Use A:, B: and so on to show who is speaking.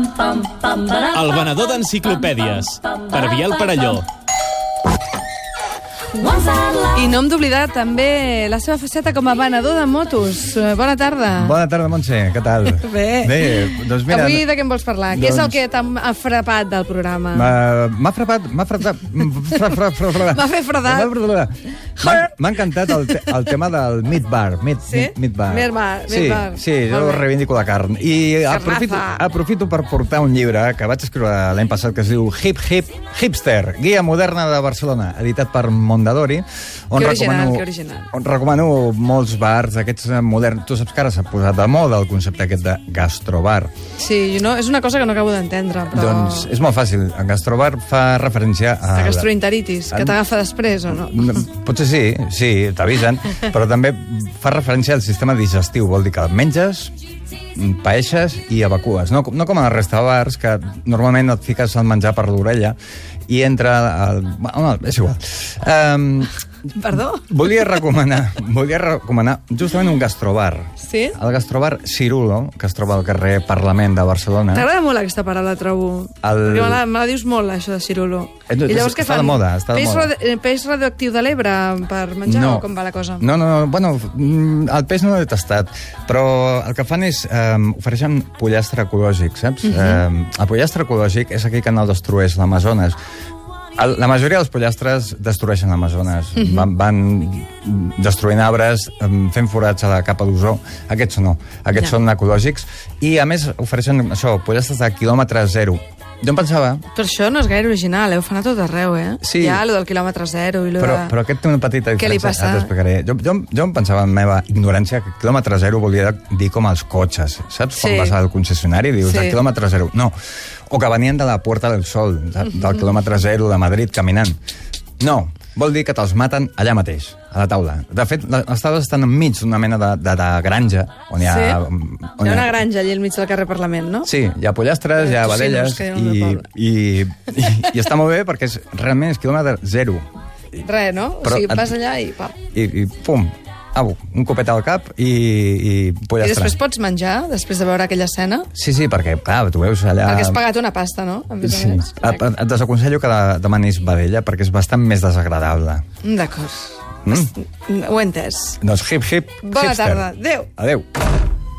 A: El venedor d'enciclopèdies, per Biel Parelló.
B: I no hem d'oblidar també la seva faceta com a venedor de motos. Eh, Bona tarda.
C: Bona tarda, Montse, què tal?
B: Bé.
C: Bé, doncs mira...
B: Avui de què em vols parlar? Què és el
C: Doncs-
B: que t'ha m- ha frapat del programa?
C: M'ha m'ha frapat, m'ha frapat... Fra, fra, fra, fra.
B: M'ha fet fredat.
C: M'ha fredat. M'ha- M'ha encantat el, te, el tema del meat bar. Meat,
B: Sí?
C: meat, meat bar.
B: Meat bar,
C: Sí,
B: meat bar.
C: sí jo
B: Molt bé.
C: reivindico la carn. I aprofito, aprofito per portar un llibre que vaig escriure l'any passat que es diu Hip Hip Hipster, guia moderna de Barcelona, editat per Mondadori.
B: Que original, que original.
C: On recomano molts bars d'aquests eh, moderns. Tu saps que ara s'ha posat de moda el concepte aquest de gastrobar.
B: Sí, jo no, és una cosa que no acabo d'entendre, però...
C: Doncs és molt fàcil. En gastrobar fa referència a...
B: La
C: la-
B: gastroenteritis, que
C: en-
B: t'agafa després, o no?
C: Mm, Potser sí, sí, t'avisen, però també fa referència al sistema digestiu. Vol dir que menges, mm, paeixes i evacues. No, com- no com a la resta de bars, que normalment et fiques el menjar per l'orella i entra... El... Bueno, és igual. Um,
B: Perdó?
C: volia recomanar, volia recomanar justament un gastrobar.
B: Sí?
C: El gastrobar Cirulo, que es troba al carrer Parlament de Barcelona.
B: T'agrada molt aquesta paraula, trobo.
C: El-
B: Perquè me la, me la dius molt, això de cirulo.
C: Eh, no, està de moda, està de
B: peix,
C: moda.
B: radi- eh, peix radioactiu de l'Ebre per menjar o com va la cosa?
C: No, no, no, bueno, mm, el peix no l'he tastat, però el que fan és eh, ofereixen pollastre ecològic, saps?
B: Mhm.
C: Uh -huh. eh, el pollastre ecològic és aquell que no el destrueix l'Amazones. El, la majoria dels pollastres destrueixen l'Amazones. Uh
B: Mhm.
C: -huh. van, van destruint arbres, em, fent forats a la capa d'ozó. Aquests no, aquests
B: Ja.
C: ja. són ecològics. I, a més, ofereixen això, pollastres de quilòmetre zero. Jo em pensava
B: Però això no és gaire original, eh? ho fan a tot arreu, eh?
C: Sí.
B: Hi ha lo del quilòmetre zero i lo
C: Però,
B: de...
C: però aquest té una petita
B: Què li
C: diferència,
B: passa?
C: ara t'explicaré. Jo, jo, jo em pensava en la meva ignorància que quilòmetre zero volia dir com els cotxes, saps?
B: Sí.
C: Quan vas al concessionari i dius
B: Sí.
C: sí. quilòmetre zero. No, o que venien de la Puerta del Sol, de,
B: Mm-hmm.
C: del quilòmetre zero de Madrid, caminant. No, vol dir que te'ls maten allà mateix, a la taula. De fet, la- les taules estan enmig d'una mena de, de, de granja, on hi ha...
B: Sí?
C: On
B: Hi ha una granja allà al mig del carrer Parlament, no?
C: Sí, hi ha pollastres, hi ha
B: Tocinos
C: vedelles...
B: que hi ha en el
C: I,
B: poble.
C: i, i, i, està molt bé perquè és, realment és quilòmetre zero.
B: Re, no?
C: Però-
B: o sigui, vas allà i pam.
C: i, i pum, au, un copet al cap i, i
B: I
C: pollastre.
B: després pots menjar, després de veure aquella escena?
C: Sí, sí, perquè, clar, tu veus allà...
B: Perquè has pagat una pasta, no? A més a
C: Sí. Ah,
B: més.
C: Et, et desaconsello que de- demanis vedella perquè és bastant més desagradable.
B: Mm, D'acord.
C: Mm?
B: Ho he entès.
C: Doncs hip, hip,
B: Bona
C: hipster.
B: tarda. Adéu.
C: Adéu.